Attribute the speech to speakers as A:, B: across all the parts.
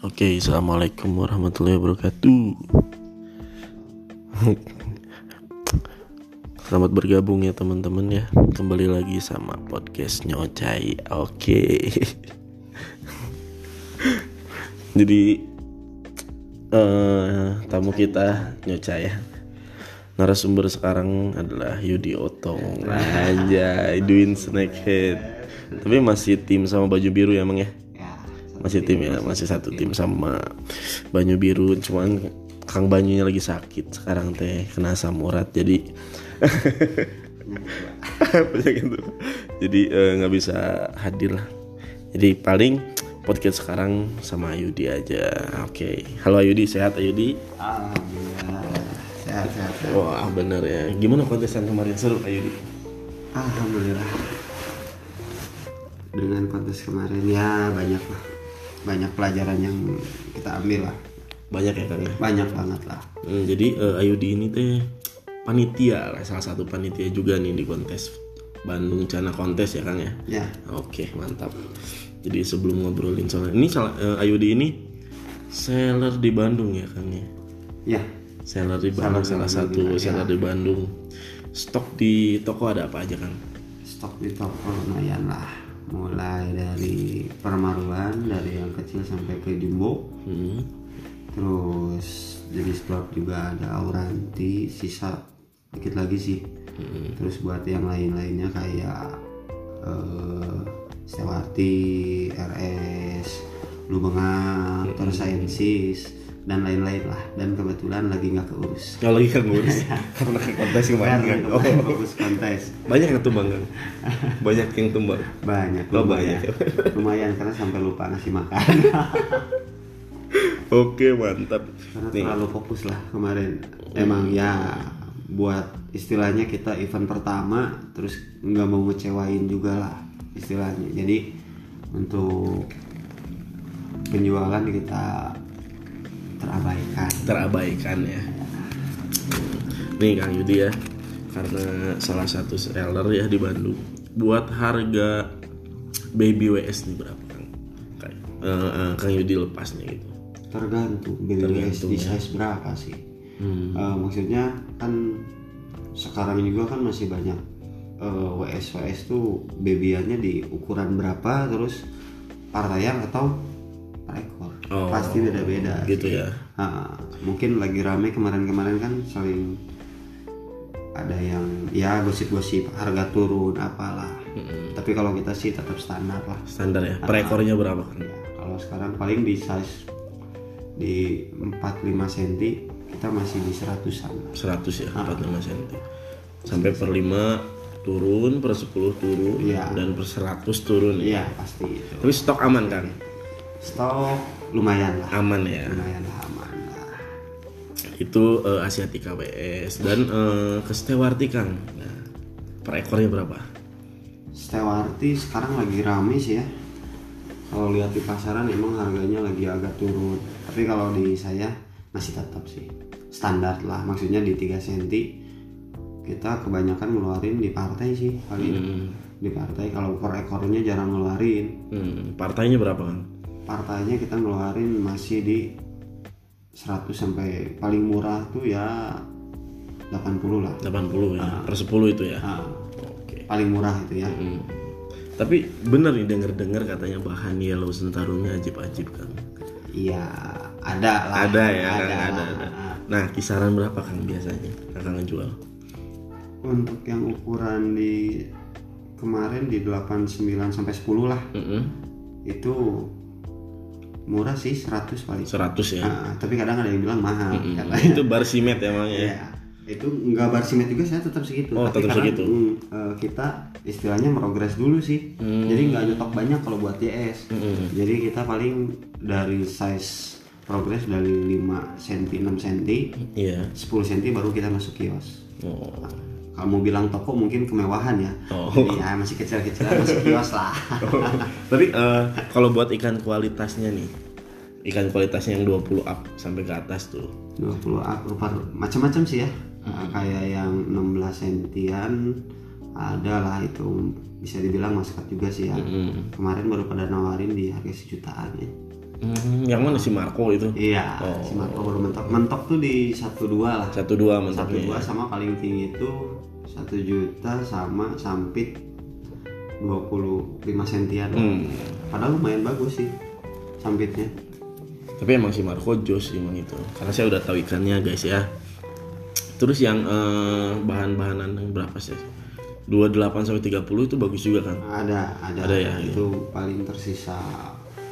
A: Oke, assalamualaikum warahmatullahi wabarakatuh. Selamat bergabung ya teman-teman ya. Kembali lagi sama podcast Nyocai. Oke. Jadi eh tamu kita Nyocai ya. Narasumber sekarang adalah Yudi Otong aja, Edwin Snackhead. Tapi masih tim sama baju biru ya, Mang ya?
B: ya
A: masih
B: satu
A: tim ya masih satu tim sama Banyu Biru cuman Kang Banyunya lagi sakit sekarang teh kena samurat jadi Penyakit tuh. gitu. jadi eh, nggak bisa hadir lah jadi paling podcast sekarang sama Yudi aja oke halo Yudi sehat Yudi
B: alhamdulillah sehat sehat sehat.
A: wah bener ya gimana kontestan kemarin seru Yudi
B: alhamdulillah dengan kontes kemarin ya banyak lah banyak pelajaran yang kita ambil lah
A: banyak ya Kang ya?
B: banyak banget lah
A: Hmm, jadi eh, Ayudi ini teh panitia lah salah satu panitia juga nih di kontes Bandung Cana Kontes ya Kang ya.
B: ya
A: Oke mantap. Jadi sebelum ngobrolin soal ini salah eh, Ayudi ini seller di Bandung ya Kang ya.
B: ya
A: Seller di Bandung ya. salah, satu seller di Bandung. Stok di toko ada apa aja Kang?
B: stok di toko lumayan lah mulai dari permaruan dari yang kecil sampai ke jumbo
A: Hmm.
B: terus jenis produk juga ada auranti sisa dikit lagi sih terus buat yang lain-lainnya kayak eh, Sewati, RS, Lubenga, terus Sainsis dan lain-lain lah dan kebetulan lagi nggak keurus
A: Kalau lagi Kang ngurus karena ke kontes kemarin
B: Karena
A: Kang. Oh,
B: kemarin fokus kontes
A: banyak yang tumbang Kang. Banyak yang tumbang.
B: banyak
A: Oh,
B: lumayan
A: banyak.
B: lumayan karena sampai lupa ngasih makan
A: Oke mantap.
B: karena
A: Nih.
B: terlalu fokus lah kemarin emang ya buat istilahnya kita event pertama terus nggak mau ngecewain juga lah istilahnya jadi untuk penjualan kita terabaikan
A: terabaikan ya. Nih Kang Yudi ya, karena salah satu seller ya di Bandung. Buat harga baby WS nih berapa Kang? Kang, eh, eh, Kang Yudi lepasnya gitu.
B: tergantung BBS di size berapa sih Eh, maksudnya kan sekarang juga kan masih banyak eh, WS WS tuh babyannya di ukuran berapa terus partayang atau per ekor
A: Oh,
B: pasti beda beda
A: Gitu ya.
B: mungkin lagi rame kemarin-kemarin kan saling ada yang ya gosip-gosip harga turun apalah tapi kalau kita sih tetap standar lah
A: Standar ya. Per ekornya berapa Kang?
B: Ya, kalau sekarang paling di size di 45 cm kita masih di 100-an.
A: 100 ya, 45 cm. Sampai per 5 turun, per 10 turun,
B: Iya.
A: dan per 100 turun ya.
B: Iya, pasti itu.
A: Tapi stok aman kan?
B: Stok lumayan lah.
A: Aman ya.
B: Lumayan lah aman lah.
A: Itu eh, Asiatica WS dan eh, ke Stewarti Kang. Nah, per ekornya berapa?
B: Stewarti sekarang lagi rame sih ya. Kalau lihat di pasaran emang harganya lagi agak turun. Tapi kalau di saya masih tetap sih standar lah. Maksudnya di 3 cm kita kebanyakan ngeluarin di partai sih paling di partai kalau per ekornya jarang ngeluarin
A: Hmm, partainya berapa kan?
B: partainya kita ngeluarin masih di 100 sampai paling murah tuh ya 80 lah
A: 80 ya, per 10 itu ya.
B: Ah,
A: Oke.
B: paling murah itu ya
A: Hmm. Tapi bener nih denger-dengar katanya bahan yellow sentarungnya ajib-ajib kan.
B: iya ada Ah, lah
A: Ada ya, Kang, ada, ada,
B: lah.
A: Nah, kisaran berapa Kang biasanya? Kakak ngejual.
B: untuk yang ukuran di kemarin di 89 sampai 10 lah
A: Mm-mm.
B: itu murah sih 100 paling
A: 100 ya.
B: Ah, tapi kadang ada yang bilang mahal
A: Mm,
B: katanya
A: Itu bar simet emang ya.
B: Iya. Itu nggak barsimet juga saya tetap segitu.
A: Oh, tetap
B: karena,
A: segitu.
B: mm, eh, kita istilahnya merogres dulu sih.
A: Hmm.
B: Jadi nggak nyetok banyak kalau buat YS.
A: Mm-mm.
B: Jadi kita paling dari size progres dari 5 cm, 6 cm,
A: Iya.
B: 10 cm baru kita masuk kios.
A: Oh.
B: Kalau mau bilang toko mungkin kemewahan ya.
A: Oh.
B: Jadi ya masih kecil-kecil masih kios lah.
A: Tapi eh, kalau buat ikan kualitasnya nih. Ikan kualitasnya yang 20 up sampai ke atas tuh.
B: 20 up rupa macam-macam sih ya. Nah, kayak yang 16 sentian ada lah itu bisa dibilang masyarakat juga sih ya.
A: Mm.
B: Kemarin baru pada nawarin di harga sejutaan ya.
A: Hmm, yang mana si Marco itu?
B: Iya, si Marco baru mentok. Mentok tuh di 12
A: Oh.
B: lah.
A: Satu dua ya.
B: satu
A: mentoknya.
B: dua sama paling tinggi itu satu juta sama sampit 25 sentian
A: Hmm.
B: padahal lumayan bagus sih sampitnya
A: Tapi emang si Marco jos emang itu. Karena saya udah tahu ikannya guys ya. Terus yang eh, bahan-bahanan yang berapa sih? 28 sampai 30 itu bagus juga kan?
B: ada ada,
A: Ada ya,
B: itu paling tersisa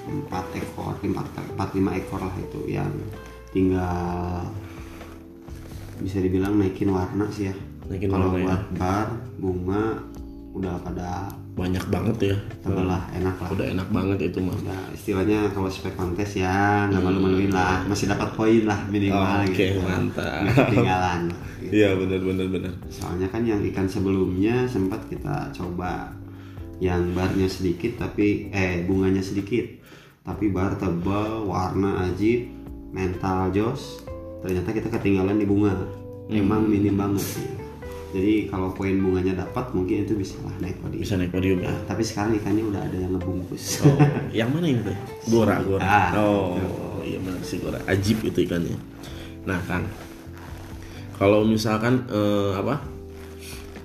B: empat ekor empat empat lima ekor lah itu yang tinggal bisa dibilang naikin warna sih ya
A: Naikin warna
B: kalau
A: ya.
B: buat bar bunga udah pada
A: Banyak banget ya.
B: tebel lah enak lah
A: Udah enak banget itu mah.
B: Udah, istilahnya kalau spek kontes ya nggak malu-maluin lah masih dapat poin lah
A: Hmm.
B: minimal
A: Oke,
B: gitu
A: mantap.
B: Nggak ketinggalan gitu.
A: Iya benar benar benar.
B: soalnya kan yang ikan sebelumnya sempat kita coba yang barnya sedikit tapi eh bunganya sedikit tapi bar tebal warna ajib mental jos ternyata kita ketinggalan di bunga
A: Hmm.
B: emang minim banget sih jadi kalau poin bunganya dapat mungkin itu bisa lah naik podium
A: Bisa naik podium ya.
B: Nah, tapi sekarang ikannya udah ada yang ngebungkus
A: Oh, yang mana ini teh? Gora, gora.
B: Ah,
A: oh, iya benar sih gora. Ajib itu ikannya. Nah, Kang. Kalau misalkan eh, apa?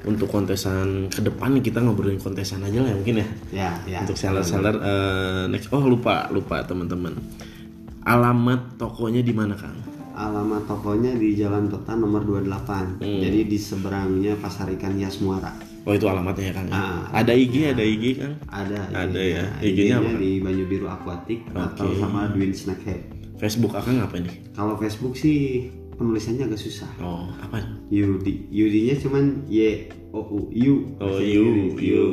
A: Untuk kontesan ke depan kita ngobrolin kontesan aja lah ya mungkin ya.
B: ya ya
A: Untuk seller-seller eh, next. Oh, lupa, lupa teman-teman. Alamat tokonya di mana, Kang?
B: Alamat tokonya di Jalan Peta nomor
A: Hmm.
B: 28. Jadi di seberangnya Pasar Ikan Hias Muara.
A: Oh, itu alamatnya ya, Kang. ya?
B: Ah,
A: ada IG, ada IG, Kang.
B: Ada
A: Ada
B: IG-nya.
A: ya. IG-nya apa?
B: di Banyu Biru Aquatic atau
A: Oke.
B: sama Dwin Snack Head.
A: Facebook Akang apa nih?
B: Kalau Facebook sih penulisannya agak susah.
A: Oh, apa?
B: Yudi, Yudinya cuman Y O U U.
A: Oh,
B: Bahasa
A: Yu,
B: Inggris.
A: Yu.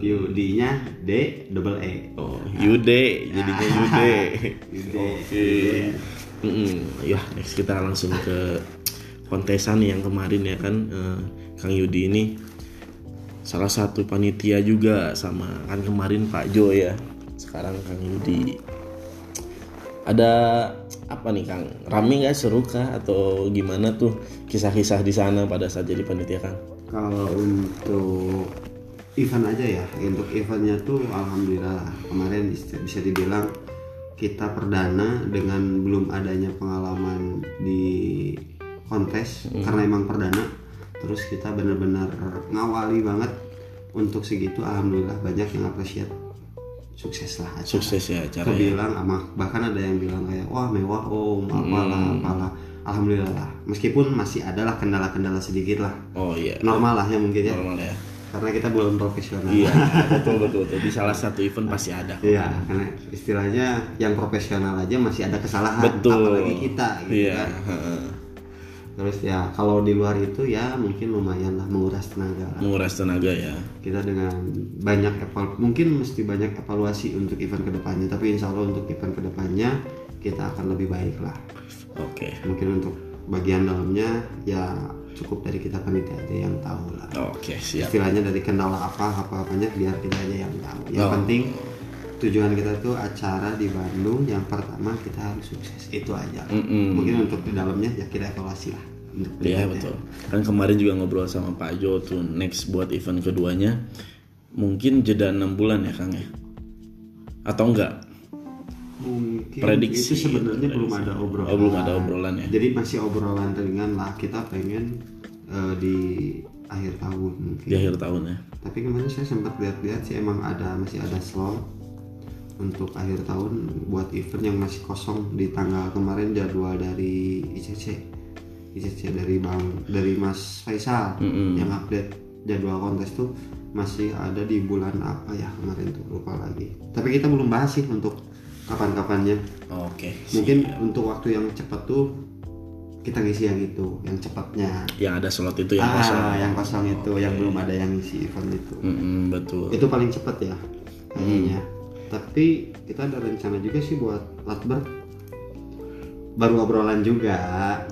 B: Yudinya D double E.
A: Oh, Yude, jadinya Yude.
B: Yude.
A: Oke. Mm-mm. Yah, next kita langsung ke kontesan yang kemarin ya kan eh, Kang Yudi ini salah satu panitia juga sama kan kemarin Pak Jo ya. Sekarang Kang Yudi. Ada apa nih Kang? Rame nggak seru kah atau gimana tuh kisah-kisah di sana pada saat jadi panitia Kang?
B: Kalau untuk event aja ya, untuk eventnya tuh alhamdulillah lah. kemarin isti- bisa dibilang kita perdana dengan belum adanya pengalaman di kontes karena emang perdana. Terus kita bener-bener ngawali banget untuk segitu alhamdulillah banyak yang appreciate sukses lah acara
A: Sukses ya acara ya.
B: kebilang sama bahkan ada yang bilang kayak wah mewah om apalah apalah alhamdulillah lah meskipun masih adalah kendala-kendala sedikit lah
A: Oh iya,
B: normal lah ya mungkin ya
A: normal ya.
B: karena kita belum profesional
A: Iya, betul betul betul. Di salah satu event pasti ada. kok.
B: Iya, karena istilahnya yang profesional aja masih ada kesalahan
A: Betul.
B: apalagi kita gitu
A: Iya.
B: kan
A: heeh.
B: terus ya kalau di luar itu ya mungkin lumayan lah menguras tenaga lah.
A: Menguras tenaga ya.
B: kita dengan banyak eval mungkin mesti banyak evaluasi untuk event kedepannya tapi insya Allah untuk event kedepannya kita akan lebih baik lah
A: Oke.
B: mungkin untuk bagian dalamnya ya cukup dari kita panitia aja yang tahu lah
A: Oke, siap.
B: istilahnya dari kendala apa apa apanya biar kita aja yang tahu yang
A: Oh.
B: penting tujuan kita tuh acara di Bandung yang pertama kita harus sukses itu aja
A: Mm-mm.
B: mungkin untuk di dalamnya ya kita evaluasi lah untuk
A: Iya,
B: berikutnya.
A: betul. Kan kemarin juga ngobrol sama Pak Jo tuh next buat event keduanya mungkin jeda enam bulan ya Kang ya. Atau enggak?
B: mungkin
A: Prediksi.
B: itu sebenarnya belum
A: Prediksi.
B: ada obrolan
A: Oh, belum ada obrolan ya.
B: jadi masih obrolan ringan lah kita pengen eh, di akhir tahun mungkin
A: Di akhir tahun ya.
B: tapi kemarin saya sempat lihat-lihat sih emang ada masih ada slot untuk akhir tahun buat event yang masih kosong di tanggal kemarin jadwal dari ICC ICC dari Bang dari Mas Faisal yang update jadwal kontes tuh masih ada di bulan apa ya kemarin tuh lupa lagi tapi kita belum bahas sih untuk kapan-kapannya
A: Oke.
B: mungkin untuk waktu yang cepat tuh kita ngisi yang itu yang cepatnya
A: Yang ada slot itu yang
B: ah
A: kosong.
B: yang kosong itu yang belum ada yang ngisi event itu
A: Mm-mm, betul. Hmm.
B: itu paling cepat ya kayaknya tapi kita ada rencana juga sih buat latber baru obrolan juga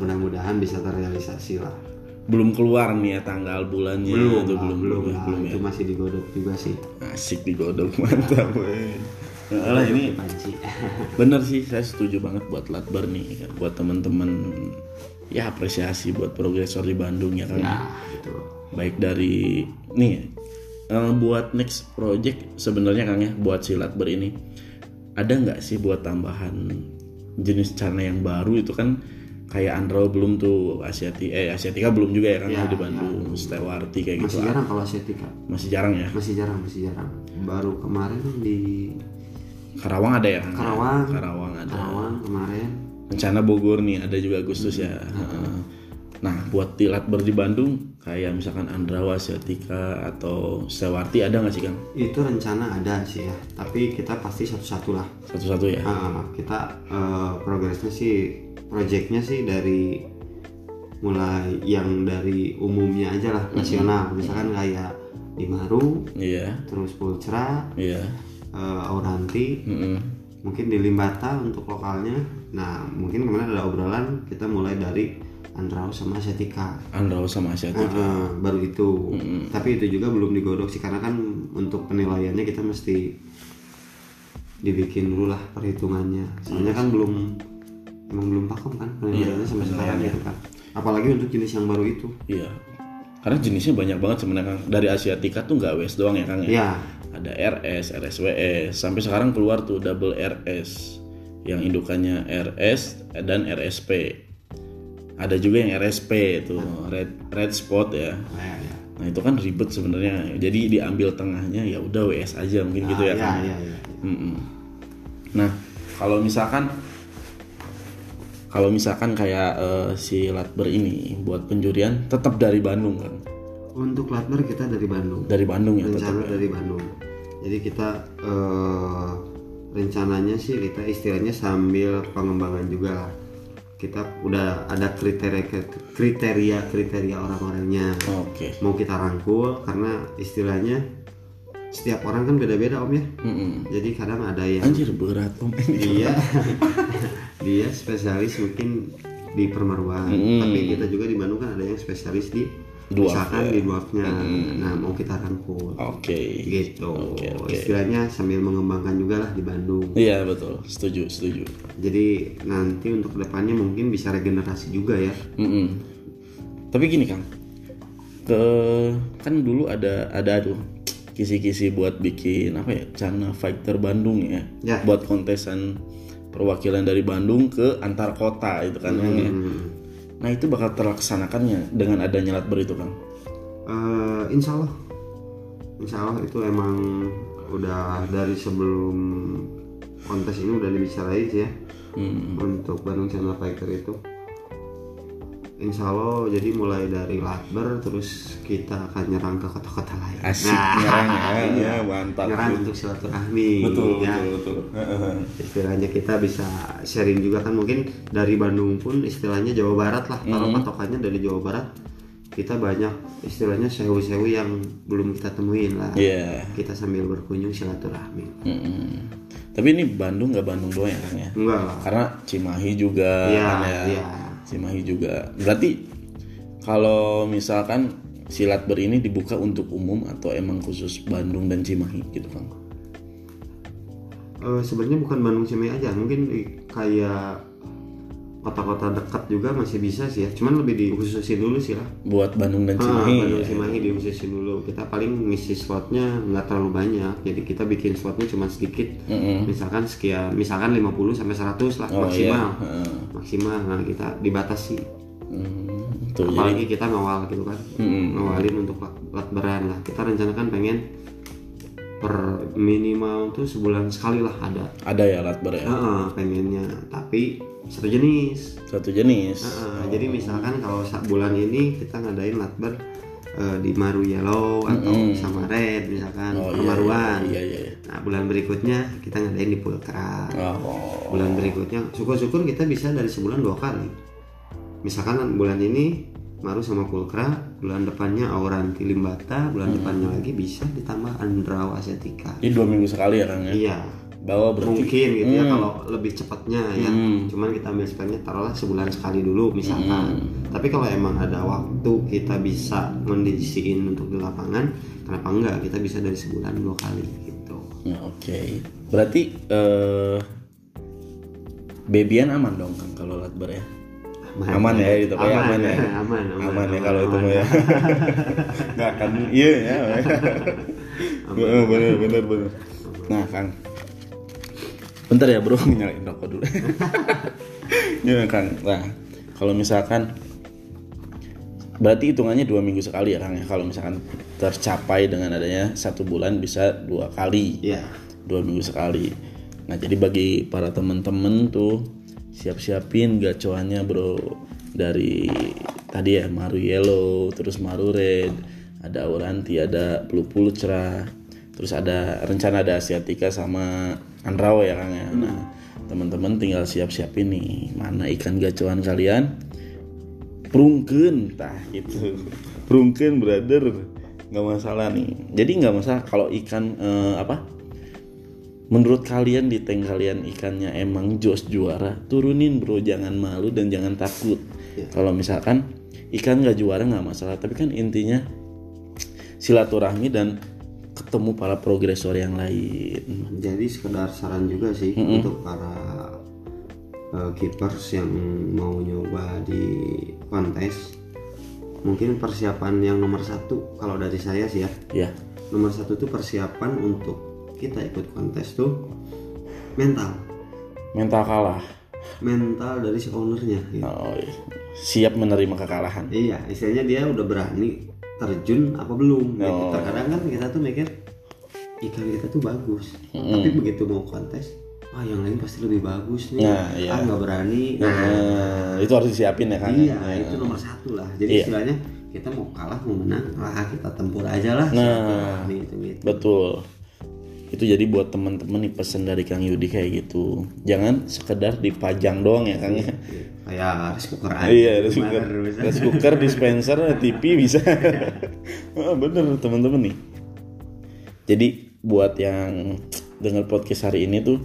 B: mudah-mudahan bisa terrealisasi lah
A: Belum keluar nih ya tanggal bulannya itu
B: lah,
A: belum
B: belum,
A: ya,
B: lah.
A: belum ya.
B: itu masih digodok juga sih
A: Asik digodok mantap. weh. Nah, lah ini
B: panci
A: Bener sih, saya setuju banget buat Latbar nih, kan. buat teman-teman ya apresiasi buat progresor di Bandung ya kan.
B: nah gitu
A: Baik dari nih eh, buat next project sebenarnya Kang ya buat si Latbar ini ada nggak sih buat tambahan jenis cana yang baru itu kan kayak Andro belum tuh Asiati eh Asiatika belum juga ya kan
B: Ya,
A: di Bandung Stewarti kayak gitu
B: masih jarang kalau Asiatica
A: masih jarang ya
B: masih jarang masih jarang baru kemarin di
A: Karawang ada ya kan?
B: Karawang. Ah.
A: Karawang ada
B: Karawang kemarin
A: rencana Bogor nih ada juga Agustus ya
B: Hmm.
A: Heeh. nah buat tilat ber di Bandung kayak misalkan Andrawa Asiatika atau Stewarti ada nggak sih kang
B: itu rencana ada sih ya tapi kita pasti satu-satu lah
A: satu-satu ya
B: Ah, kita eh, progresnya sih proyeknya sih dari mulai yang dari umumnya aja lah nasional misalkan kayak di Maru
A: iya
B: terus Pulcra
A: iya
B: eh, Auranti
A: Mm-mm.
B: mungkin di Limbata untuk lokalnya nah mungkin kemarin ada obrolan kita mulai dari Andrau sama Setika
A: Andrawa sama
B: Ah.
A: Asiatika
B: baru itu tapi itu juga belum digodok sih karena kan untuk penilaiannya kita mesti dibikin dulu lah perhitungannya
A: Iya
B: soalnya kan belum emang belum pakem kan penilaiannya sampai sekarang gitu kan apalagi untuk jenis yang baru itu
A: iya karena jenisnya banyak banget sebenarnya kang dari Asiatika tuh nggak WS doang ya kang ya
B: ya
A: ada RS RSWS sampai sekarang keluar tuh double RS yang indukannya RS dan RSP ada juga yang RSP tuh red red spot ya
B: ya ya
A: Nah itu kan ribet sebenarnya. Jadi diambil tengahnya ya udah WS aja mungkin gitu ya
B: ya,
A: kan.
B: ya, ya.
A: Mm-mm. Nah kalau misalkan kalau misalkan kayak eh, si Latber ini buat penjurian tetap dari Bandung kan.
B: untuk Latmer kita dari Bandung
A: Dari Bandung ya tetap.
B: rencana dari Bandung. Jadi kita eh, rencananya sih kita istilahnya sambil pengembangan juga lah. Kita udah ada kriteria kriteria kriteria orang-orangnya
A: ya? Oke.
B: mau kita rangkul karena istilahnya setiap orang kan beda-beda om ya.
A: Mm-mm.
B: Jadi kadang ada yang
A: Anjir berat om ini.
B: dia dia spesialis mungkin di permeruan tapi kita juga di Bandung kan ada yang spesialis di
A: Hmm. Dwarf, ya. Hmm.
B: misalkan di dwarfnya nah mau kita rangkul
A: Oke.
B: gitu
A: Oke, oke.
B: istilahnya sambil mengembangkan juga lah di Bandung
A: Iya betul. Setuju setuju.
B: jadi nanti untuk kedepannya mungkin bisa regenerasi juga ya
A: Mm-mm. Tapi gini Kang, ke kan dulu ada ada tuh kisi-kisi buat bikin apa ya Cana Fighter Bandung ya,
B: Ya.
A: buat kontesan perwakilan dari Bandung ke antar kota itu kan Kang, ya.
B: Hmm.
A: Nah itu bakal terlaksanakannya dengan adanya latber itu Kang.
B: Eh, insya Allah insya Allah itu emang udah dari sebelum kontes ini udah dibicarain sih ya
A: Hmm.
B: untuk Bandung Channel Fighter itu Insya Allah jadi mulai dari Lakber terus kita akan nyerang ke kota-kota lain
A: Asik nyerang ya,
B: iya.
A: mantap.
B: nyerang untuk silaturahmi ya.
A: betul.
B: istilahnya kita bisa sharing juga kan mungkin dari Bandung pun istilahnya Jawa Barat lah kalau
A: Mm-hmm.
B: patokannya dari Jawa Barat kita banyak istilahnya sewu-sewu yang belum kita temuin lah
A: Iya.
B: kita sambil berkunjung silaturahmi
A: Mm-mm. Tapi ini Bandung nggak Bandung doang ya Kang ya?
B: enggak lah
A: Karena Cimahi juga
B: Iya,
A: kan ya.
B: iya.
A: Cimahi juga. Berarti kalau misalkan silat ber ini dibuka untuk umum atau emang khusus Bandung dan Cimahi gitu kan?
B: Eh, sebenarnya bukan Bandung Cimahi aja mungkin di- kayak kota-kota dekat juga masih bisa sih ya cuman lebih dihususin dulu sih lah
A: Buat Bandung dan
B: Ah,
A: Cimahi.
B: Bandung
A: ya.
B: Cimahi dihususin dulu kita paling ngisi slotnya nggak terlalu banyak jadi kita bikin slotnya cuma sedikit
A: Mm-mm.
B: misalkan sekian misalkan 50 sampai 100 lah
A: Hmm. Oh, iya.
B: maksimal
A: Heeh.
B: maksimal nah kita dibatasi
A: Hmm, tuh jadi
B: apalagi kita ngawal gitu kan
A: Mm-mm.
B: ngawalin untuk lak- lakberan lah kita rencanakan pengen per minimal tuh sebulan sekali lah ada
A: ada ya latber ya.
B: Heeh, pengennya tapi satu jenis
A: Satu jenis.
B: Heeh, jadi misalkan kalau sa- bulan ini kita ngadain latber eh, di Maru Yellow atau sama Red misalkan
A: Hmm. Oh, iya,
B: permaruan
A: Iya iya. iya.
B: nah bulan berikutnya kita ngadain di Pulkra
A: Oh.
B: bulan berikutnya syukur-syukur kita bisa dari sebulan dua kali misalkan bulan ini Maru sama Pulkra bulan depannya Auranti Limbata bulan depannya lagi bisa ditambah Andrawa Asiatica
A: Jadi dua minggu sekali ya Kang ya.
B: iya
A: Bawa berarti.
B: mungkin gitu ya kalau lebih cepatnya ya
A: Hmm.
B: cuman kita ambil speknya taruhlah sebulan sekali dulu misalkan tapi kalau emang ada waktu kita bisa mendisiin untuk di lapangan kenapa enggak kita bisa dari sebulan dua kali gitu
A: Ya, Oke. Berarti eh Bebian aman dong Kang kalau latber ya. Aman ya, itu kayak aman ya.
B: aman aman,
A: aman, ya kalau itu mah ya nggak akan iya ya bener bener bener bener nah kang Bentar ya bro, nyalain rokok dulu. ya Kang. Nah, kalau misalkan berarti hitungannya dua minggu sekali ya Kang ya. Kalau misalkan tercapai dengan adanya satu bulan bisa dua kali,
B: Iya.
A: dua minggu sekali. Nah jadi bagi para temen-temen tuh siap-siapin gacoannya bro dari tadi ya Maru Yellow, terus Maru Red, ada Auranti, ada Blue Pulcra, terus ada rencana ada Asiatica sama Andrawa ya Kang ya. Nah teman-teman tinggal siap-siapin nih mana ikan gacoan kalian prungkeun tah gitu prungkeun brother nggak masalah nih jadi nggak masalah kalau ikan eh, apa menurut kalian di tank kalian ikannya emang jos juara turunin bro jangan malu dan jangan takut kalau misalkan ikan nggak juara nggak masalah tapi kan intinya silaturahmi dan ketemu para progresor yang lain
B: Jadi sekedar saran juga sih untuk para eh, keepers yang mau nyoba di kontes. Mungkin persiapan yang nomor satu kalau dari saya sih ya.
A: ya
B: Nomor satu tuh persiapan untuk kita ikut kontes tuh mental,
A: mental kalah
B: mental dari si ownernya. gitu.
A: Oh, siap menerima kekalahan
B: Iya, istilahnya dia udah berani terjun apa belum? gitu.
A: Oh.
B: Terkadang kan kita tuh mikir ikan kita tuh bagus,
A: Hmm.
B: tapi begitu mau kontes, ah yang lain pasti lebih bagus nih,
A: Nah, iya.
B: ah nggak berani. Nah,
A: Nah, itu harus disiapin ya kan?
B: iya
A: Nah,
B: itu nomor satu lah. Jadi
A: Iya.
B: istilahnya kita mau kalah mau menang, ah kita tempur aja lah.
A: Nah.
B: itu gitu.
A: Betul. Itu jadi buat teman-teman nih pesan dari Kang Yudi kayak gitu. Jangan sekedar dipajang doang ya Kang ya.
B: Kayak harus cooker aja.
A: Iya, rice
B: Gimana
A: cooker,
B: bisa.
A: rice cooker, dispenser, TV bisa. Ah, Bener teman-teman nih. Jadi buat yang dengar podcast hari ini tuh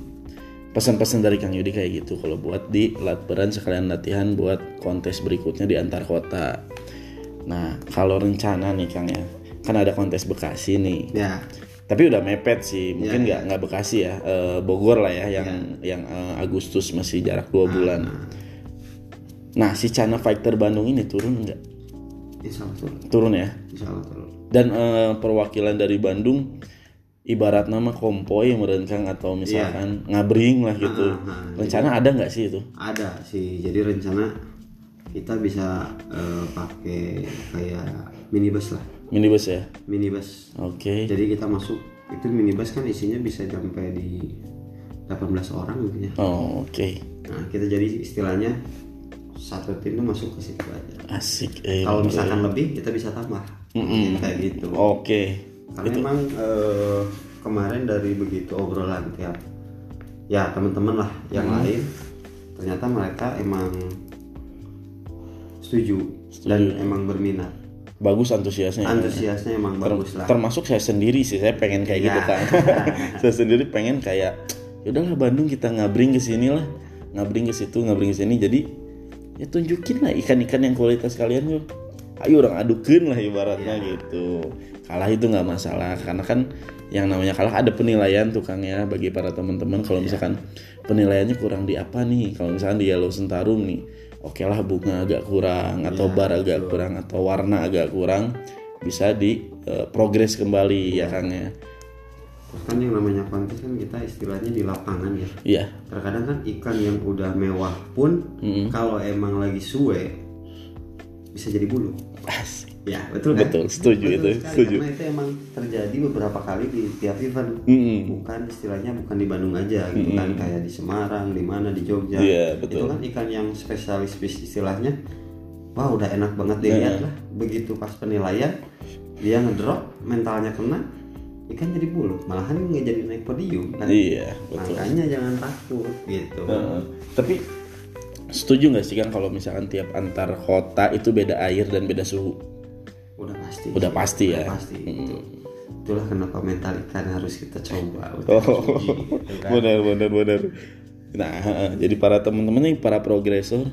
A: pesan-pesan dari Kang Yudi kayak gitu kalau buat di latberan sekalian latihan buat kontes berikutnya di antar kota. Nah kalau rencana nih Kang ya, kan ada kontes Bekasi nih
B: Ya,
A: tapi udah mepet sih mungkin nggak nggak Bekasi ya eh, Bogor lah ya Ah. yang yang eh, Agustus masih jarak dua bulan nah si Cana Fighter Bandung ini turun nggak
B: insya Allah tuh,
A: turun ya
B: insya Allah tuh.
A: dan eh, perwakilan dari Bandung ibarat nama kompoi merengkang atau misalkan ngabring lah gitu rencana ada nggak sih itu
B: ada sih jadi rencana kita bisa eh, pakai kayak minibus lah
A: minibus ya
B: minibus
A: oke
B: jadi kita masuk itu minibus kan isinya bisa sampai di 18 orang mungkin ya
A: oh, oke
B: nah kita jadi istilahnya satu tim tuh masuk ke situ aja
A: asik eh,
B: kalau misalkan lebih kita bisa tambah Mungkin kayak gitu
A: oke
B: karena emang eh, kemarin dari begitu obrolan tiap ya teman-teman lah yang
A: Hmm.
B: lain ternyata mereka emang setuju, dan emang berminat
A: bagus antusiasnya ya.
B: antusiasnya emang bagus lah
A: termasuk saya sendiri sih saya pengen kayak gitu kan saya sendiri pengen kayak yaudahlah Bandung kita ngabring ke sini lah ngabring ke situ ngabring ke sini jadi ya tunjukin lah ikan-ikan yang kualitas kalian yuk ayo orang adukin lah ibaratnya gitu kalah itu nggak masalah karena kan yang namanya kalah ada penilaian tukang ya bagi para teman-teman kalau misalkan penilaiannya kurang di apa nih kalau misalkan di Yellow Sentarum nih oke lah bunga agak kurang atau bar agak kurang atau warna agak kurang bisa di eh, progres kembali ya Kang ya
B: terus kan yang namanya kontes kan kita istilahnya di lapangan ya
A: iya
B: terkadang kan ikan yang udah mewah pun
A: Hmm.
B: kalau emang lagi suwe bisa jadi bulu
A: Asik.
B: ya betul kan?
A: betul setuju itu
B: sekali,
A: setuju
B: karena itu emang terjadi beberapa kali di tiap event
A: Mm-mm.
B: bukan istilahnya bukan di Bandung aja gitu kan kayak di Semarang di mana di Jogja
A: Iya, betul.
B: itu kan ikan yang spesialis spes- istilahnya wah udah enak banget dilihat
A: Iya.
B: lah begitu pas penilaian dia ngedrop mentalnya kena ikan jadi bulu malahan nggak jadi naik podium kan
A: iya betul
B: makanya jangan takut gitu
A: Heeh. tapi setuju nggak sih Kang kalau misalkan tiap antar kota itu beda air dan beda suhu
B: udah pasti
A: Udah pasti ya.
B: Udah pasti gitu. itulah kenapa mental ikan harus kita coba udah
A: Oh,
B: uji, gitu kan.
A: benar benar benar. Nah, heeh. jadi para teman-teman nih para progresor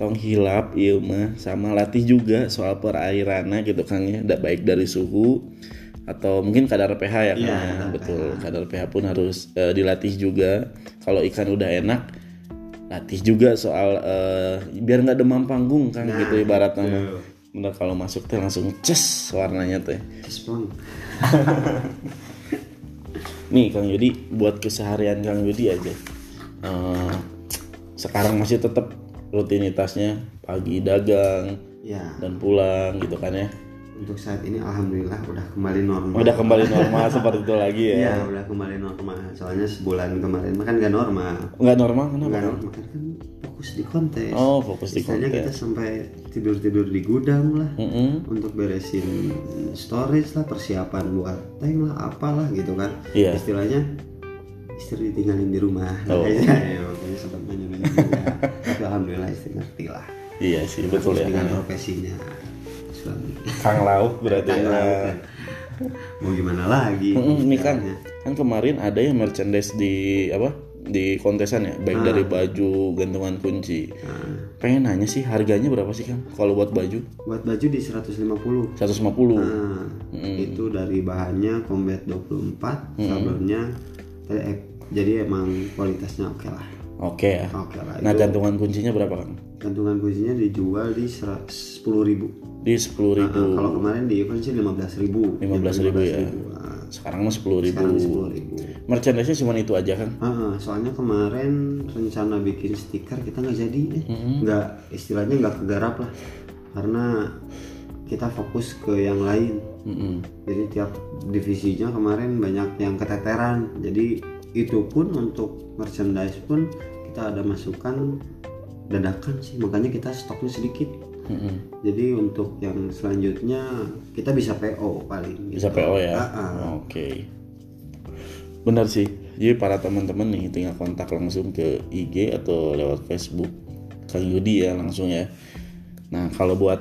A: tong hilap ieu mah sama latih juga soal perairannya gitu Kang ya, da- baik dari suhu atau mungkin kadar pH ya Kang.
B: Iya,
A: ya.
B: kadar
A: betul. Kadar pH pun harus eh, dilatih juga. Kalau ikan udah enak latih juga soal eh, biar nggak demam panggung Kang
B: Nah,
A: gitu ibaratnya. mah. Bener kalau masuk teh langsung ces warnanya teh.
B: Yes, Bang.
A: Nih Kang Yudi buat keseharian Kang Yudi aja. eh, sekarang masih tetap rutinitasnya pagi dagang
B: ya
A: dan pulang gitu kan ya.
B: untuk saat ini alhamdulillah udah kembali normal
A: Udah kembali normal seperti itu lagi ya.
B: Iya, udah kembali normal. Soalnya sebulan kemarin mah kan gak normal.
A: Nggak normal kenapa?
B: Gak normal kan fokus di kontes.
A: Oh, fokus di
B: Istilahnya
A: konten.
B: kita sampai tidur-tidur di gudang lah
A: Mm-mm.
B: untuk beresin storage lah, persiapan buat tank lah, apalah gitu kan.
A: Iya.
B: Istilahnya istri ditinggalin di rumah.
A: Oh.
B: Makanya ya, makanya sempat nanya-nanya juga. Tapi alhamdulillah istri ngerti lah.
A: Iya sih betul
B: Fokus
A: ya.
B: Dengan profesinya suami.
A: Kang lauk berarti.
B: Kan
A: ya.
B: laut kan. Mau gimana lagi?
A: Mm-mm, nih Kang,
B: istilahnya.
A: kan kemarin ada yang merchandise di apa di kontesan ya, baik dari baju, gantungan kunci.
B: Nah,
A: Pengen nanya sih harganya berapa sih Kang kalau buat baju?
B: buat baju di 150
A: 150.
B: nah, itu dari bahannya combat 24 sablonnya TF jadi emang kualitasnya oke lah
A: Oke ya.
B: oke lah
A: Nah, gantungan kuncinya berapa Kang?
B: gantungan kuncinya dijual di 10.000 ribu Nah,
A: Di 10.000.
B: kalau kemarin di event sih 15.000 ribu
A: 15.000 ya. Sekarang mah 10.000.
B: ah. sekarang 10 ribu Ah,
A: Merchandise-nya cuma itu aja Kang.
B: soalnya kemarin rencana bikin stiker kita nggak jadi eh. nggak istilahnya nggak kegarap lah karena kita fokus ke yang lain
A: Mm-mm.
B: jadi tiap divisinya kemarin banyak yang keteteran jadi itu pun untuk merchandise pun kita ada masukan dadakan sih makanya kita stoknya sedikit
A: Mm-mm.
B: jadi untuk yang selanjutnya kita bisa PO paling gitu.
A: Bisa PO ya.
B: Ah, ah.
A: Oke. Benar sih. Jadi para teman-teman nih tinggal kontak langsung ke IG atau lewat Facebook Kang Yudi ya langsung ya. Nah, kalau buat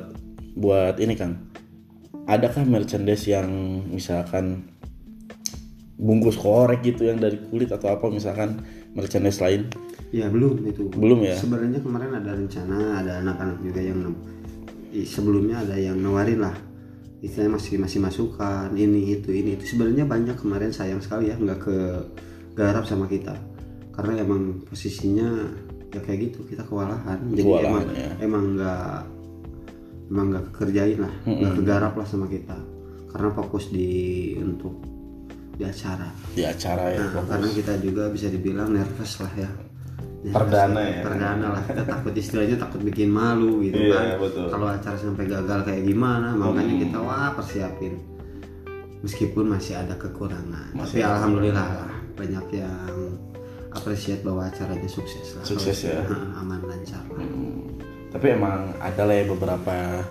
A: buat ini Kang. Adakah merchandise yang misalkan bungkus korek gitu yang dari kulit atau apa misalkan merchandise lain?
B: ya belum itu
A: Belum ya?
B: sebenarnya kemarin ada rencana ada anak-anak juga yang nem- i- sebelumnya ada yang nawarin lah istilahnya masih masih masukan ini itu ini itu sebenarnya banyak kemarin sayang sekali ya nggak ke garap sama kita karena emang posisinya ya kayak gitu kita kewalahan jadi
A: Kewalahan,
B: emang
A: ya.
B: emang nggak emang nggak kerjain lah nggak kegarap lah sama kita karena fokus di untuk di acara
A: Di acara ya.
B: Nah, karena kita juga bisa dibilang nervous lah ya. Nervous
A: Perdana
B: lah,
A: ya.
B: Perdana lah. Kita takut istilahnya takut bikin malu gitu
A: Iya,
B: kan.
A: betul. Oh, iya.
B: Kalau acara sampai gagal kayak gimana, makanya kita wah persiapin. Meskipun masih ada kekurangan,
A: Masih
B: tapi
A: ada
B: alhamdulillah lah banyak yang apresiat bahwa acaranya sukses lah.
A: Sukses ya.
B: Nah, aman lancar lah.
A: Hmm. Tapi emang ada lah ya beberapa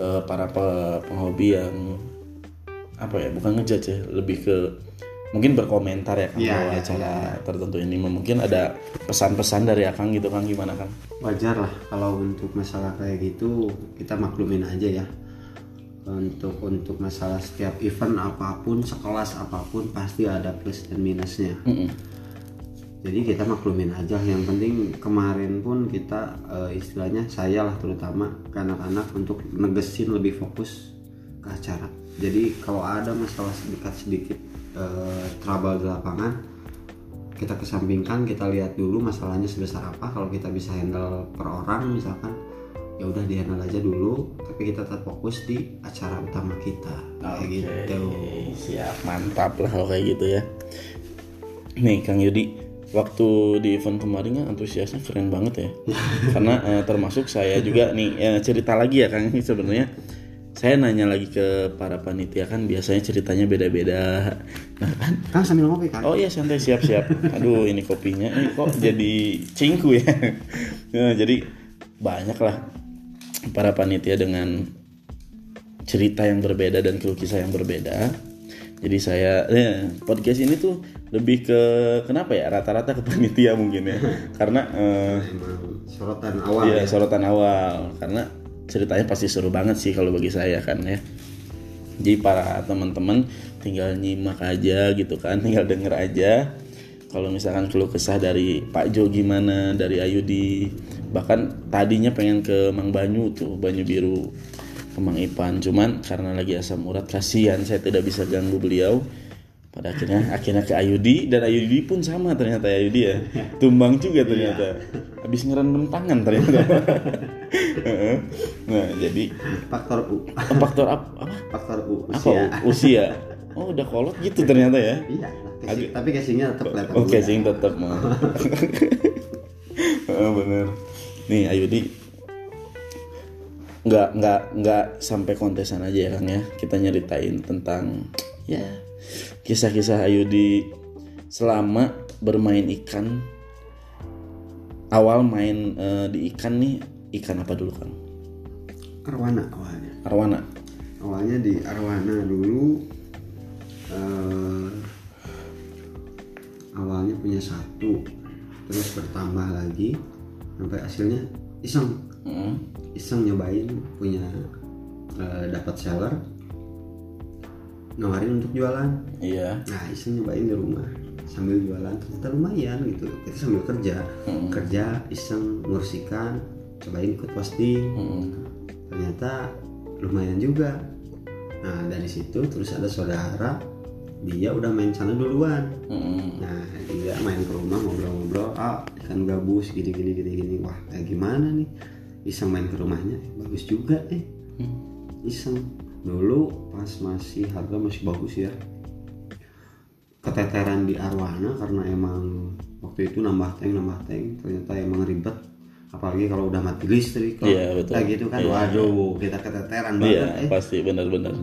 A: eh, para pe- penghobi yang apa ya bukan ngejudge ya lebih ke mungkin berkomentar ya kang
B: Iya,
A: bahwa
B: iya,
A: acara tertentu ini mungkin ada pesan-pesan dari akang gitu kang gimana kang?
B: wajar lah kalau untuk masalah kayak gitu kita maklumin aja ya untuk untuk masalah setiap event apapun sekelas apapun pasti ada plus dan minusnya
A: Mm-mm.
B: jadi kita maklumin aja yang penting kemarin pun kita eh, istilahnya saya lah terutama ke anak-anak untuk negesin lebih fokus ke acara jadi kalau ada masalah sedikit sedikit eh, trouble di lapangan kita kesampingkan kita lihat dulu masalahnya sebesar apa kalau kita bisa handle per orang misalkan ya udah di handle aja dulu tapi kita tetap fokus di acara utama kita kayak gitu
A: Oke, siap mantap lah kalau kayak gitu ya. Nih Kang Yudi, waktu di event kemarin kan antusiasnya keren banget ya. Karena eh, termasuk saya juga nih eh, cerita lagi ya Kang ini sebenarnya. Saya nanya lagi ke para panitia kan biasanya ceritanya beda-beda. Nah kan,
B: kan sambil ngopi kan
A: oh iya santai siap-siap. Aduh ini kopinya eh, kok jadi cingku ya. Nah, jadi banyak lah para panitia dengan cerita yang berbeda dan keluh kisah yang berbeda. Jadi saya eh, podcast ini tuh lebih ke kenapa ya rata-rata ke panitia mungkin ya karena eh,
B: emang sorotan awal
A: iya,
B: ya
A: sorotan awal karena ceritanya pasti seru banget sih kalau bagi saya kan ya. Jadi para teman-teman tinggal nyimak aja gitu kan, tinggal denger aja. Kalau misalkan keluh kesah dari Pak Jo gimana, dari Ayudi, bahkan tadinya pengen ke Mang Banyu tuh, Banyu Biru, ke Mang Ipan, cuman karena lagi asam urat kasihan saya tidak bisa ganggu beliau. Pada akhirnya akhirnya ke Ayudi dan Ayudi pun sama ternyata Ayudi ya. Tumbang juga ternyata. Habis ngerendam tangan ternyata. Heeh. nah, jadi
B: faktor U
A: faktor ap- apa?
B: faktor U
A: Apa?
B: usia
A: Usia. Oh, udah kolot gitu ternyata ya.
B: iya Casing- tapi casingnya tetap kelihatan
A: Oh
B: muda.
A: casing tetap mah. Ah, bener. Nih Ayudi nggak nggak nggak sampai kontesan aja ya Kang ya. Kita nyeritain tentang ya kisah-kisah Ayudi selama bermain ikan. Awal main eh, di ikan nih ikan apa dulu Kang?
B: Arwana awalnya
A: Arwana.
B: awalnya di Arwana dulu eh, awalnya punya satu terus bertambah lagi sampai hasilnya iseng
A: Hmm.
B: iseng nyobain punya eh, dapat seller nawarin untuk jualan
A: Iya.
B: nah iseng nyobain di rumah sambil jualan ternyata lumayan gitu kita sambil kerja
A: Hmm.
B: kerja iseng ngursikan cobain ikut posting
A: Hmm.
B: ternyata lumayan juga nah dari situ terus ada saudara dia udah main sana duluan
A: Hmm.
B: nah dia main ke rumah ngobrol-ngobrol ah ikan gabus gini gini gini gini wah kayak gimana nih iseng main ke rumahnya bagus juga eh
A: Hmm.
B: iseng dulu pas masih harga masih bagus ya keteteran di arwana karena emang waktu itu nambah tank nambah tank ternyata emang ribet apalagi kalau udah mati listrik kalau
A: Iya, betul.
B: kita gitu kan
A: Iya.
B: waduh kita keteteran banget
A: Iya
B: eh
A: pasti benar-benar.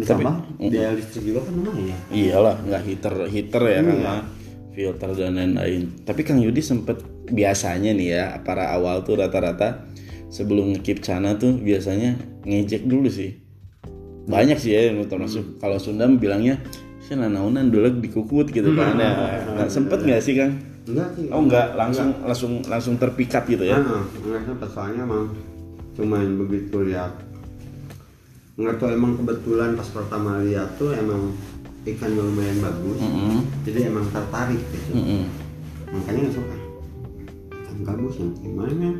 B: ditambah biaya listrik juga kan lumayan
A: Iyalah, nggak heater heater ya Kang ya. filter dan lain-lain. Tapi Kang Yudi sempet biasanya nih ya para awal tuh rata-rata sebelum ngekip cana tuh biasanya ngejek dulu sih. Banyak sih ya yang termasuk kalau Sunda bilangnya saya nanaunan dulek dikukut gitu kan ya. Nah, sempet nggak sih Kang?
B: enggak sih
A: Oh nggak langsung langsung langsung terpikat gitu ya?
B: Nah, enggak sempat soalnya emang cuman begitu lihat. Enggak tuh emang kebetulan pas pertama lihat tuh emang ikannya lumayan bagus.
A: Mm-mm. Mm.
B: Jadi emang tertarik gitu.
A: Mm-mm.
B: Makanya langsung ah, ikan gabus yang gimana?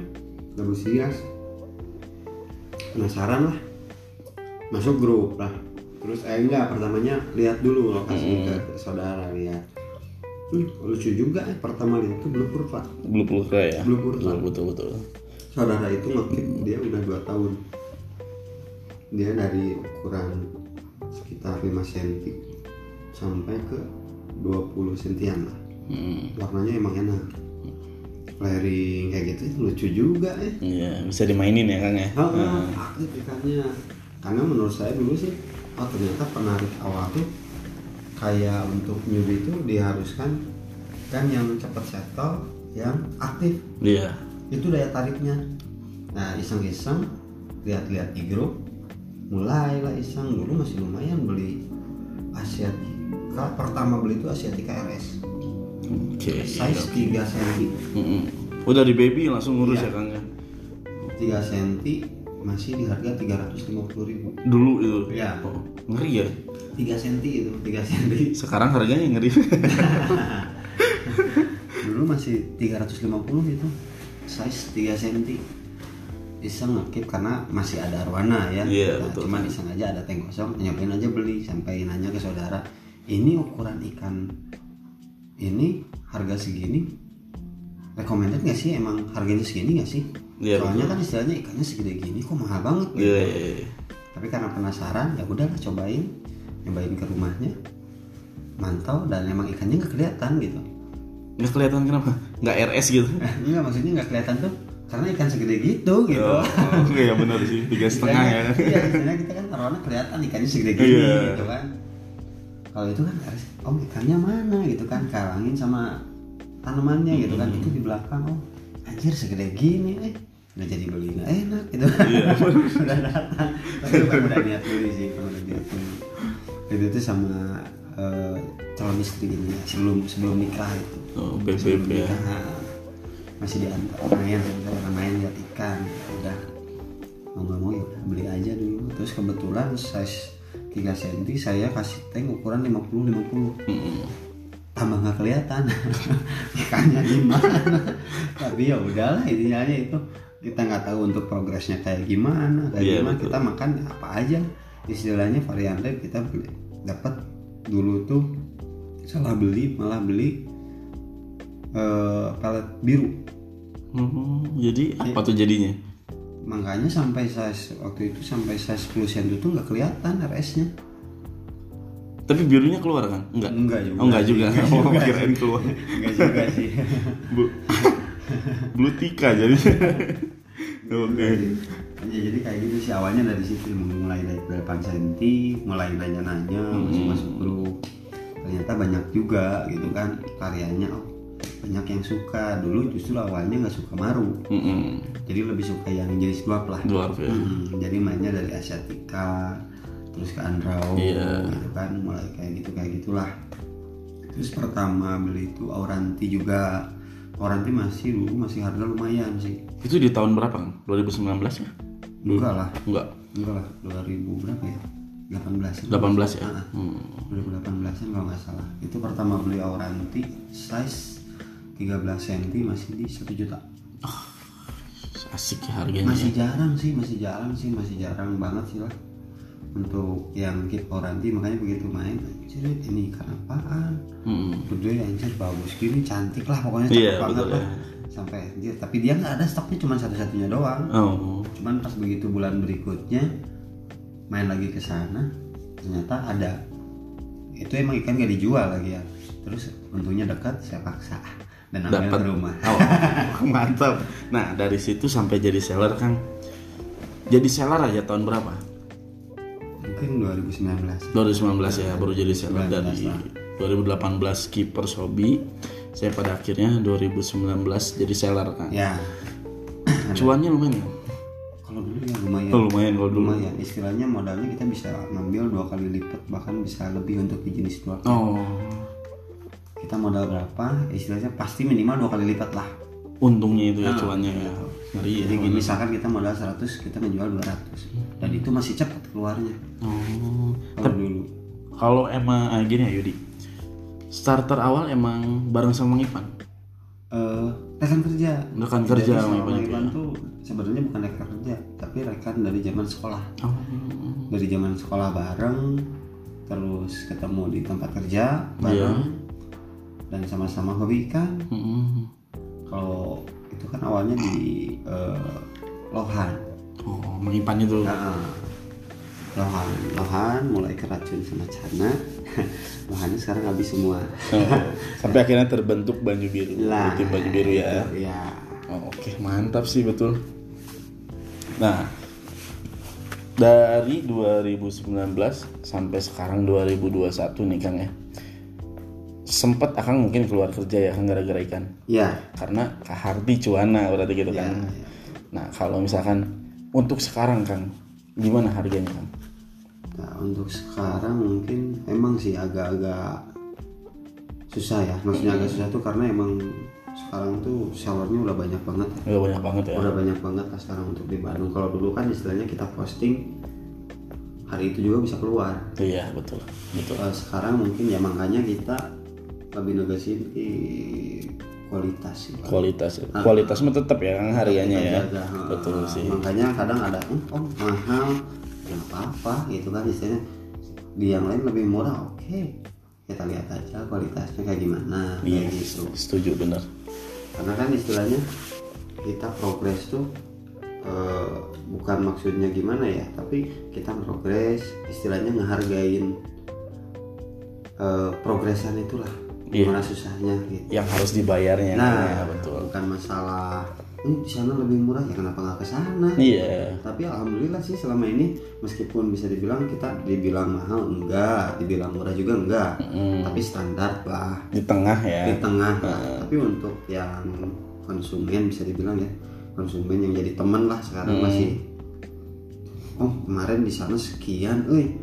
B: Gabus hias. Penasaran lah. Masuk grup lah. Terus eh enggak pertamanya lihat dulu lokasi ke ke saudara lihat. Hmm, lucu juga eh, pertama lihat tuh belum kurva
A: Belum belum ya?
B: Belum belum.
A: Belum, betul betul.
B: saudara itu ngekip dia udah dua tahun dia dari ukuran sekitar 5 cm sampai ke 20 sentian lah
A: Hmm.
B: warnanya emang enak layering kayak gitu lucu juga eh
A: Iya bisa dimainin ya Kang ya?
B: Ah, aktif ikannya karena menurut saya dulu sih oh ternyata penarik awal tuh kayak untuk newbie itu diharuskan kan yang cepat settle yang aktif
A: Iya.
B: itu daya tariknya nah iseng-iseng lihat-lihat di grup mulailah iseng dulu masih lumayan beli Asiatica pertama beli itu Asiatica RS
A: Oke.
B: size 3 cm
A: Mm-mm. Oh dari baby langsung
B: Iya.
A: ngurus ya Kang ya?
B: 3 cm masih di harga 350 ribu
A: Dulu itu.
B: Iya.
A: Oh, ngeri ya.
B: 3 cm itu 3 cm
A: Sekarang harganya ngeri.
B: dulu masih 350 gitu size 3 cm iseng ngekip karena masih ada arwana ya
A: Iya,
B: Nah,
A: betul.
B: cuman iseng aja ada tank kosong nyobain aja beli sampai nanya ke saudara ini ukuran ikan ini harga segini recommended nggak sih emang harganya segini nggak sih
A: Iya,
B: soalnya kan istilahnya ikannya segede gini kok mahal banget gitu
A: Iya. iya, iya.
B: tapi karena penasaran ya udahlah cobain nyobain ke rumahnya mantau dan emang ikannya nggak kelihatan gitu
A: Nggak kelihatan kenapa? Nggak RS gitu.
B: Enggak Iya, maksudnya nggak kelihatan tuh karena ikan segede gitu gitu.
A: Oh, iya benar sih tiga setengah ya.
B: Ikannya- Iya, sebenarnya kita kan taruhannya kelihatan ikannya segede gini
A: Iya.
B: gitu kan. Kalau itu kan harus om ikannya mana gitu kan kalangin sama tanamannya gitu kan
A: Hmm.
B: itu di belakang oh anjir segede gini eh udah jadi beli nggak enak gitu
A: Iya.
B: udah datang tapi bukan udah niat beli sih kalau udah niat beli itu tuh sama eh, calon istri ini ya, sebelum sebelum nikah itu
A: Oh, BBB ya.
B: Nah, masih diantar main sebentar main lihat ikan udah mau nggak mau ya udah, beli aja dulu terus kebetulan size 3 cm saya kasih tank ukuran 50 50
A: Mm-mm.
B: tambah nggak kelihatan ikannya di mana tapi ya udahlah intinya aja itu kita nggak tahu untuk progresnya kayak gimana kayak
A: Iya,
B: gimana
A: betul.
B: kita makan apa aja istilahnya varian lain kita beli dapat dulu tuh salah beli malah beli eh, pelet biru
A: Hmm, Jadi apa tuh jadinya?
B: makanya sampai size waktu itu sampai size 10 cm tuh nggak kelihatan RS-nya
A: Tapi birunya keluar kan? Enggak.
B: Enggak juga
A: Oh, enggak
B: sih,
A: juga.
B: enggak
A: Oh,
B: juga.
A: kirain keluar.
B: Enggak juga sih.
A: Bu. Blue Tika jadi. Oke.
B: Ya, jadi kayak gitu sih awalnya dari situ mulai dari berapa senti, mulai nanya-nanya, masuk masuk grup. Ternyata banyak juga gitu kan karyanya. Oh, banyak yang suka. Dulu justru awalnya nggak suka maru.
A: Mm-mm.
B: Jadi lebih suka yang jenis dua lah.
A: Dwarf ya.
B: Hmm, jadi mainnya dari Asiatica terus ke Andrao
A: Iya.
B: gitu kan mulai kayak gitu kayak gitulah terus pertama beli itu Auranti juga Auranti masih dulu masih harga lumayan sih
A: Itu di tahun berapa kan? 2019 ya?
B: enggak lah
A: Enggak.
B: enggak lah 2000 berapa ya 18
A: 18 ya?
B: Ah,
A: Hmm.
B: 2018 an kalau nggak salah itu pertama beli Auranti size 13 cm masih di 1 juta
A: Asik ya harganya.
B: masih jarang sih masih jarang sih masih jarang banget sih lah untuk yang kit oranti makanya begitu main anjir ini ikan apaan
A: Mm-mm.
B: gede anjir bagus gini cantik lah pokoknya cakep
A: Iya,
B: banget
A: betul
B: lah
A: ya.
B: sampai dia tapi dia nggak ada stoknya cuma satu-satunya doang
A: Oh.
B: cuman pas begitu bulan berikutnya main lagi ke sana ternyata ada itu emang ikan gak dijual lagi ya terus untungnya dekat saya paksa dan ambil
A: Dapat.
B: ke rumah
A: Oh, mantap. Nah, dari situ sampai jadi seller kan. Jadi seller aja tahun berapa?
B: mungkin
A: 2019
B: 2019
A: ya baru jadi seller dari 2018 kiper hobi. Saya pada akhirnya 2019 jadi seller kan.
B: ya
A: Cuannya lumayan kan?
B: kalau dulu ya lumayan
A: Oh, lumayan kalau dulu.
B: lumayan istilahnya modalnya kita bisa ngambil dua kali lipat bahkan bisa lebih untuk di jenis dua
A: Oh.
B: kita modal berapa istilahnya pasti minimal dua kali lipat lah
A: Untungnya itu ya cuannya ya. Ngeri ya.
B: Ah. jadi gini, misalkan kita modal 100 kita menjual 200 dan itu masih cepat keluarnya
A: Oh.
B: kalau dulu
A: Kalau emang ah, gini ya Yudi. Starter awal emang bareng sama Mang Ipan.
B: eh rekan kerja
A: Rekan kerja ya? sama
B: Jadi sama
A: Ipan juga.
B: Iwan tuh sebenarnya bukan rekan kerja tapi rekan dari zaman sekolah
A: Oh.
B: dari zaman sekolah bareng terus ketemu di tempat kerja bareng
A: Iya.
B: dan sama-sama hobi ikan
A: Mm-mm.
B: kalau itu kan awalnya di eh, Lohan
A: Oh, Mang Ipan itu.
B: Nah, Lohan Lohan mulai keracun sama Cana Lohannya sekarang habis semua
A: Oh. Sampai akhirnya terbentuk Banyu Biru.
B: Lah.
A: Tim Banyu Biru ya.
B: ya
A: Oh, Oke, mantap sih betul. Nah, dari 2019 sampai sekarang 2021 nih Kang ya. Sempet Akang mungkin keluar kerja ya Kang gara-gara ikan.
B: ya
A: Karena Kak Hardi cuana berarti gitu kan.
B: Iya.
A: Nah, kalau misalkan untuk sekarang Kang, gimana harganya Kang?
B: nah, untuk sekarang mungkin emang sih agak-agak susah ya maksudnya agak susah tuh karena emang sekarang tuh sellernya udah banyak banget
A: Udah banyak banget ya.
B: udah banyak banget lah sekarang untuk di Bandung kalau dulu kan istilahnya kita posting hari itu juga bisa keluar
A: Iya, betul. Betul.
B: Eh, sekarang mungkin ya makanya kita lebih negosiin di kualitas sih, Pak.
A: Kualitas
B: Ah.
A: kualitas mah tetap ya Kang harganya
B: Kita
A: ya.
B: jaga, eh,
A: Betul sih.
B: makanya kadang ada "Eh, om mahal ya nggak apa-apa gitu kan istilahnya di yang lain lebih murah oke kita lihat aja kualitasnya kayak gimana
A: Iya,
B: kayak gitu
A: setuju benar.
B: karena kan istilahnya kita progres tuh eh, bukan maksudnya gimana ya tapi kita progres istilahnya ngehargain eh, progresan itulah
A: Iya.
B: gimana susahnya gitu
A: yang harus dibayarnya
B: nah
A: ya, betul
B: bukan masalah "Hmm, di sana lebih murah ya kenapa nggak ke sana
A: iya
B: tapi alhamdulillah sih selama ini meskipun bisa dibilang kita dibilang mahal enggak dibilang murah juga enggak
A: Mm,
B: tapi standar lah
A: di tengah ya
B: di tengah lah. tapi untuk yang konsumen bisa dibilang ya konsumen yang jadi teman lah sekarang
A: Hmm.
B: masih oh kemarin di sana sekian eh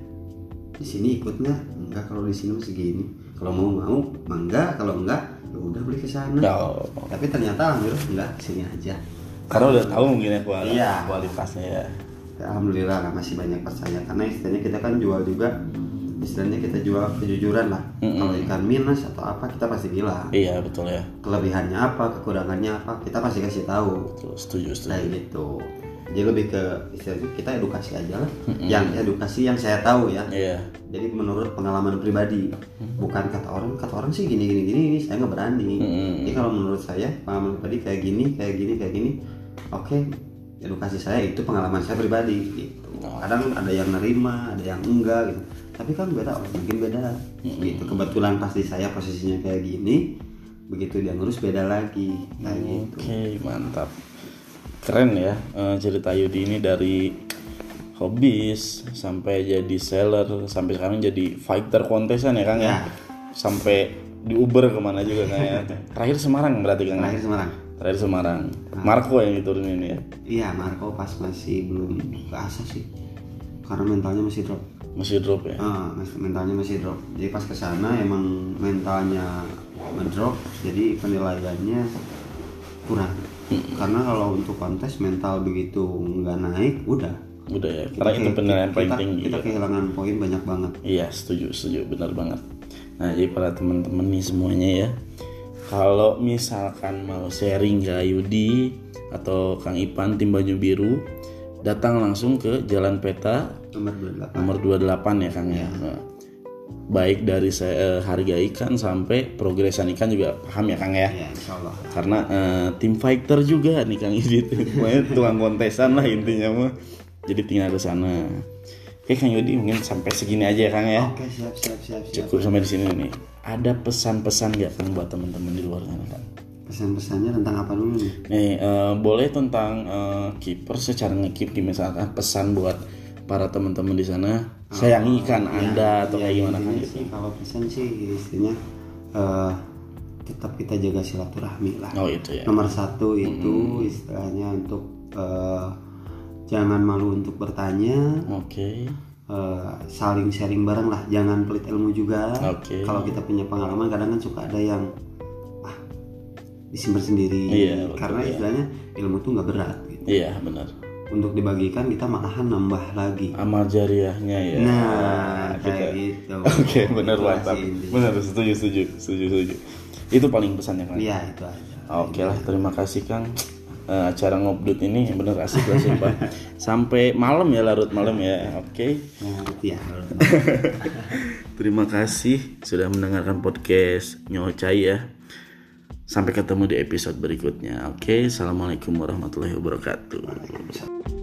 B: di sini ikut nggak enggak kalau di sini mah segini kalau mau mau mangga kalau enggak ya udah beli ke sana
A: Kalau-
B: tapi ternyata alhamdulillah enggak sini aja
A: karena udah tahu mungkin ya kuali-
B: Iya.
A: kualitasnya ya
B: alhamdulillah lah masih banyak percaya karena istilahnya kita kan jual juga istilahnya kita jual kejujuran lah
A: Mm-mm.
B: kalau ikan minus atau apa kita pasti bilang
A: iya betul ya
B: kelebihannya apa kekurangannya apa kita pasti kasih tahu
A: betul setuju
B: Nah
A: setuju
B: gitu. Jadi lebih ke istilahnya kita edukasi aja lah. Yang edukasi yang saya tahu ya.
A: iya
B: Jadi menurut pengalaman pribadi, bukan kata orang, kata orang sih gini gini gini, ini saya nggak berani.
A: Mm-mm.
B: Jadi kalau menurut saya pengalaman pribadi kayak gini, kayak gini, kayak gini, oke edukasi saya itu pengalaman saya pribadi gitu kadang ada yang nerima ada yang enggak gitu tapi kan beda orang mungkin beda gitu kebetulan pasti saya posisinya kayak gini begitu dia ngurus beda lagi kayak gitu
A: Oke, mantap. Keren ya eh, cerita Yudi ini dari hobis sampai jadi seller sampai sekarang jadi fighter kontesan ya Kang ya.
B: Ya.
A: Sampai di Uber kemana juga Kang ya. Terakhir Semarang berarti Kang. ya?
B: terakhir Ah. Semarang
A: Terakhir Semarang. Marco yang diturunin ya.
B: iya Marco pas masih belum ke asa sih karena mentalnya masih drop
A: Masih drop ya.
B: Ah, mas- mentalnya masih drop. Jadi pas ke sana emang mentalnya mendrop, jadi penilaiannya kurang. Karena kalau untuk kontes mental begitu nggak naik, udah.
A: Udah ya. Karena itu
B: Hmm, Kita-
A: penilaian paling
B: kita-
A: tinggi.
B: Kita
A: ya.
B: kehilangan poin banyak banget.
A: Iya setuju setuju benar banget. Nah jadi para teman-teman nih semuanya ya, kalau misalkan mau sharing ke Yudi atau Kang Ipan tim Banyu Biru, datang langsung ke Jalan Peta
B: Nomor 28.
A: nomor 28 ya Kang ya. Nah, Baik dari saya, eh, harga ikan sampai progresan ikan juga paham ya Kang ya.
B: Ya, insya Allah.
A: Karena eh, tim fighter juga nih Kang Yudi, pokoknya tukang kontesan lah intinya mah. Jadi tinggal ke sana. Oke Kang Yudi mungkin sampai segini aja ya Kang ya
B: Oke, siap, siap, siap, siap.
A: cukup sampai di sini nih ada pesan-pesan nggak kan buat teman-teman di luar sana kan
B: Pesan-pesannya tentang apa dulu nih?
A: nih eh, boleh tentang eh, kiper secara ngekip di misalkan pesan buat para teman-teman di sana
B: Ah,
A: sayangi ikan
B: iya.
A: anda atau kayak gimana kan
B: Ya, intinya
A: gitu
B: sih kalau pesan sih istrinya eh, tetap kita jaga silaturahmi lah.
A: oh itu ya
B: Nomor satu itu istilahnya untuk eh, jangan malu untuk bertanya,
A: oke
B: eh, saling sharing bareng lah, jangan pelit ilmu juga.
A: Oke.
B: Kalau kita punya pengalaman kadang kan suka ada yang ah disimpan sendiri,
A: Iya, betul,
B: karena
A: iya.
B: istilahnya ilmu tuh nggak berat. Gitu.
A: iya benar
B: Untuk dibagikan kita malahan nambah lagi.
A: amal jariahnya ya
B: Nah,
A: Ah, kita-
B: kayak gitu.
A: oke benar
B: Itu lah
A: mantap
B: sih intinya.
A: benar setuju setuju setuju setuju itu paling pesannya kan
B: Iya itu aja.
A: Oke lah, terima kasih Kang. Eh, acara ngobdut ini bener asik lah sumpah. Sampai malam ya larut malam ya. Oke.
B: Nah, itu ya.
A: Terima kasih sudah mendengarkan podcast Nyocai ya. Sampai ketemu di episode berikutnya. Oke, assalamualaikum warahmatullahi wabarakatuh.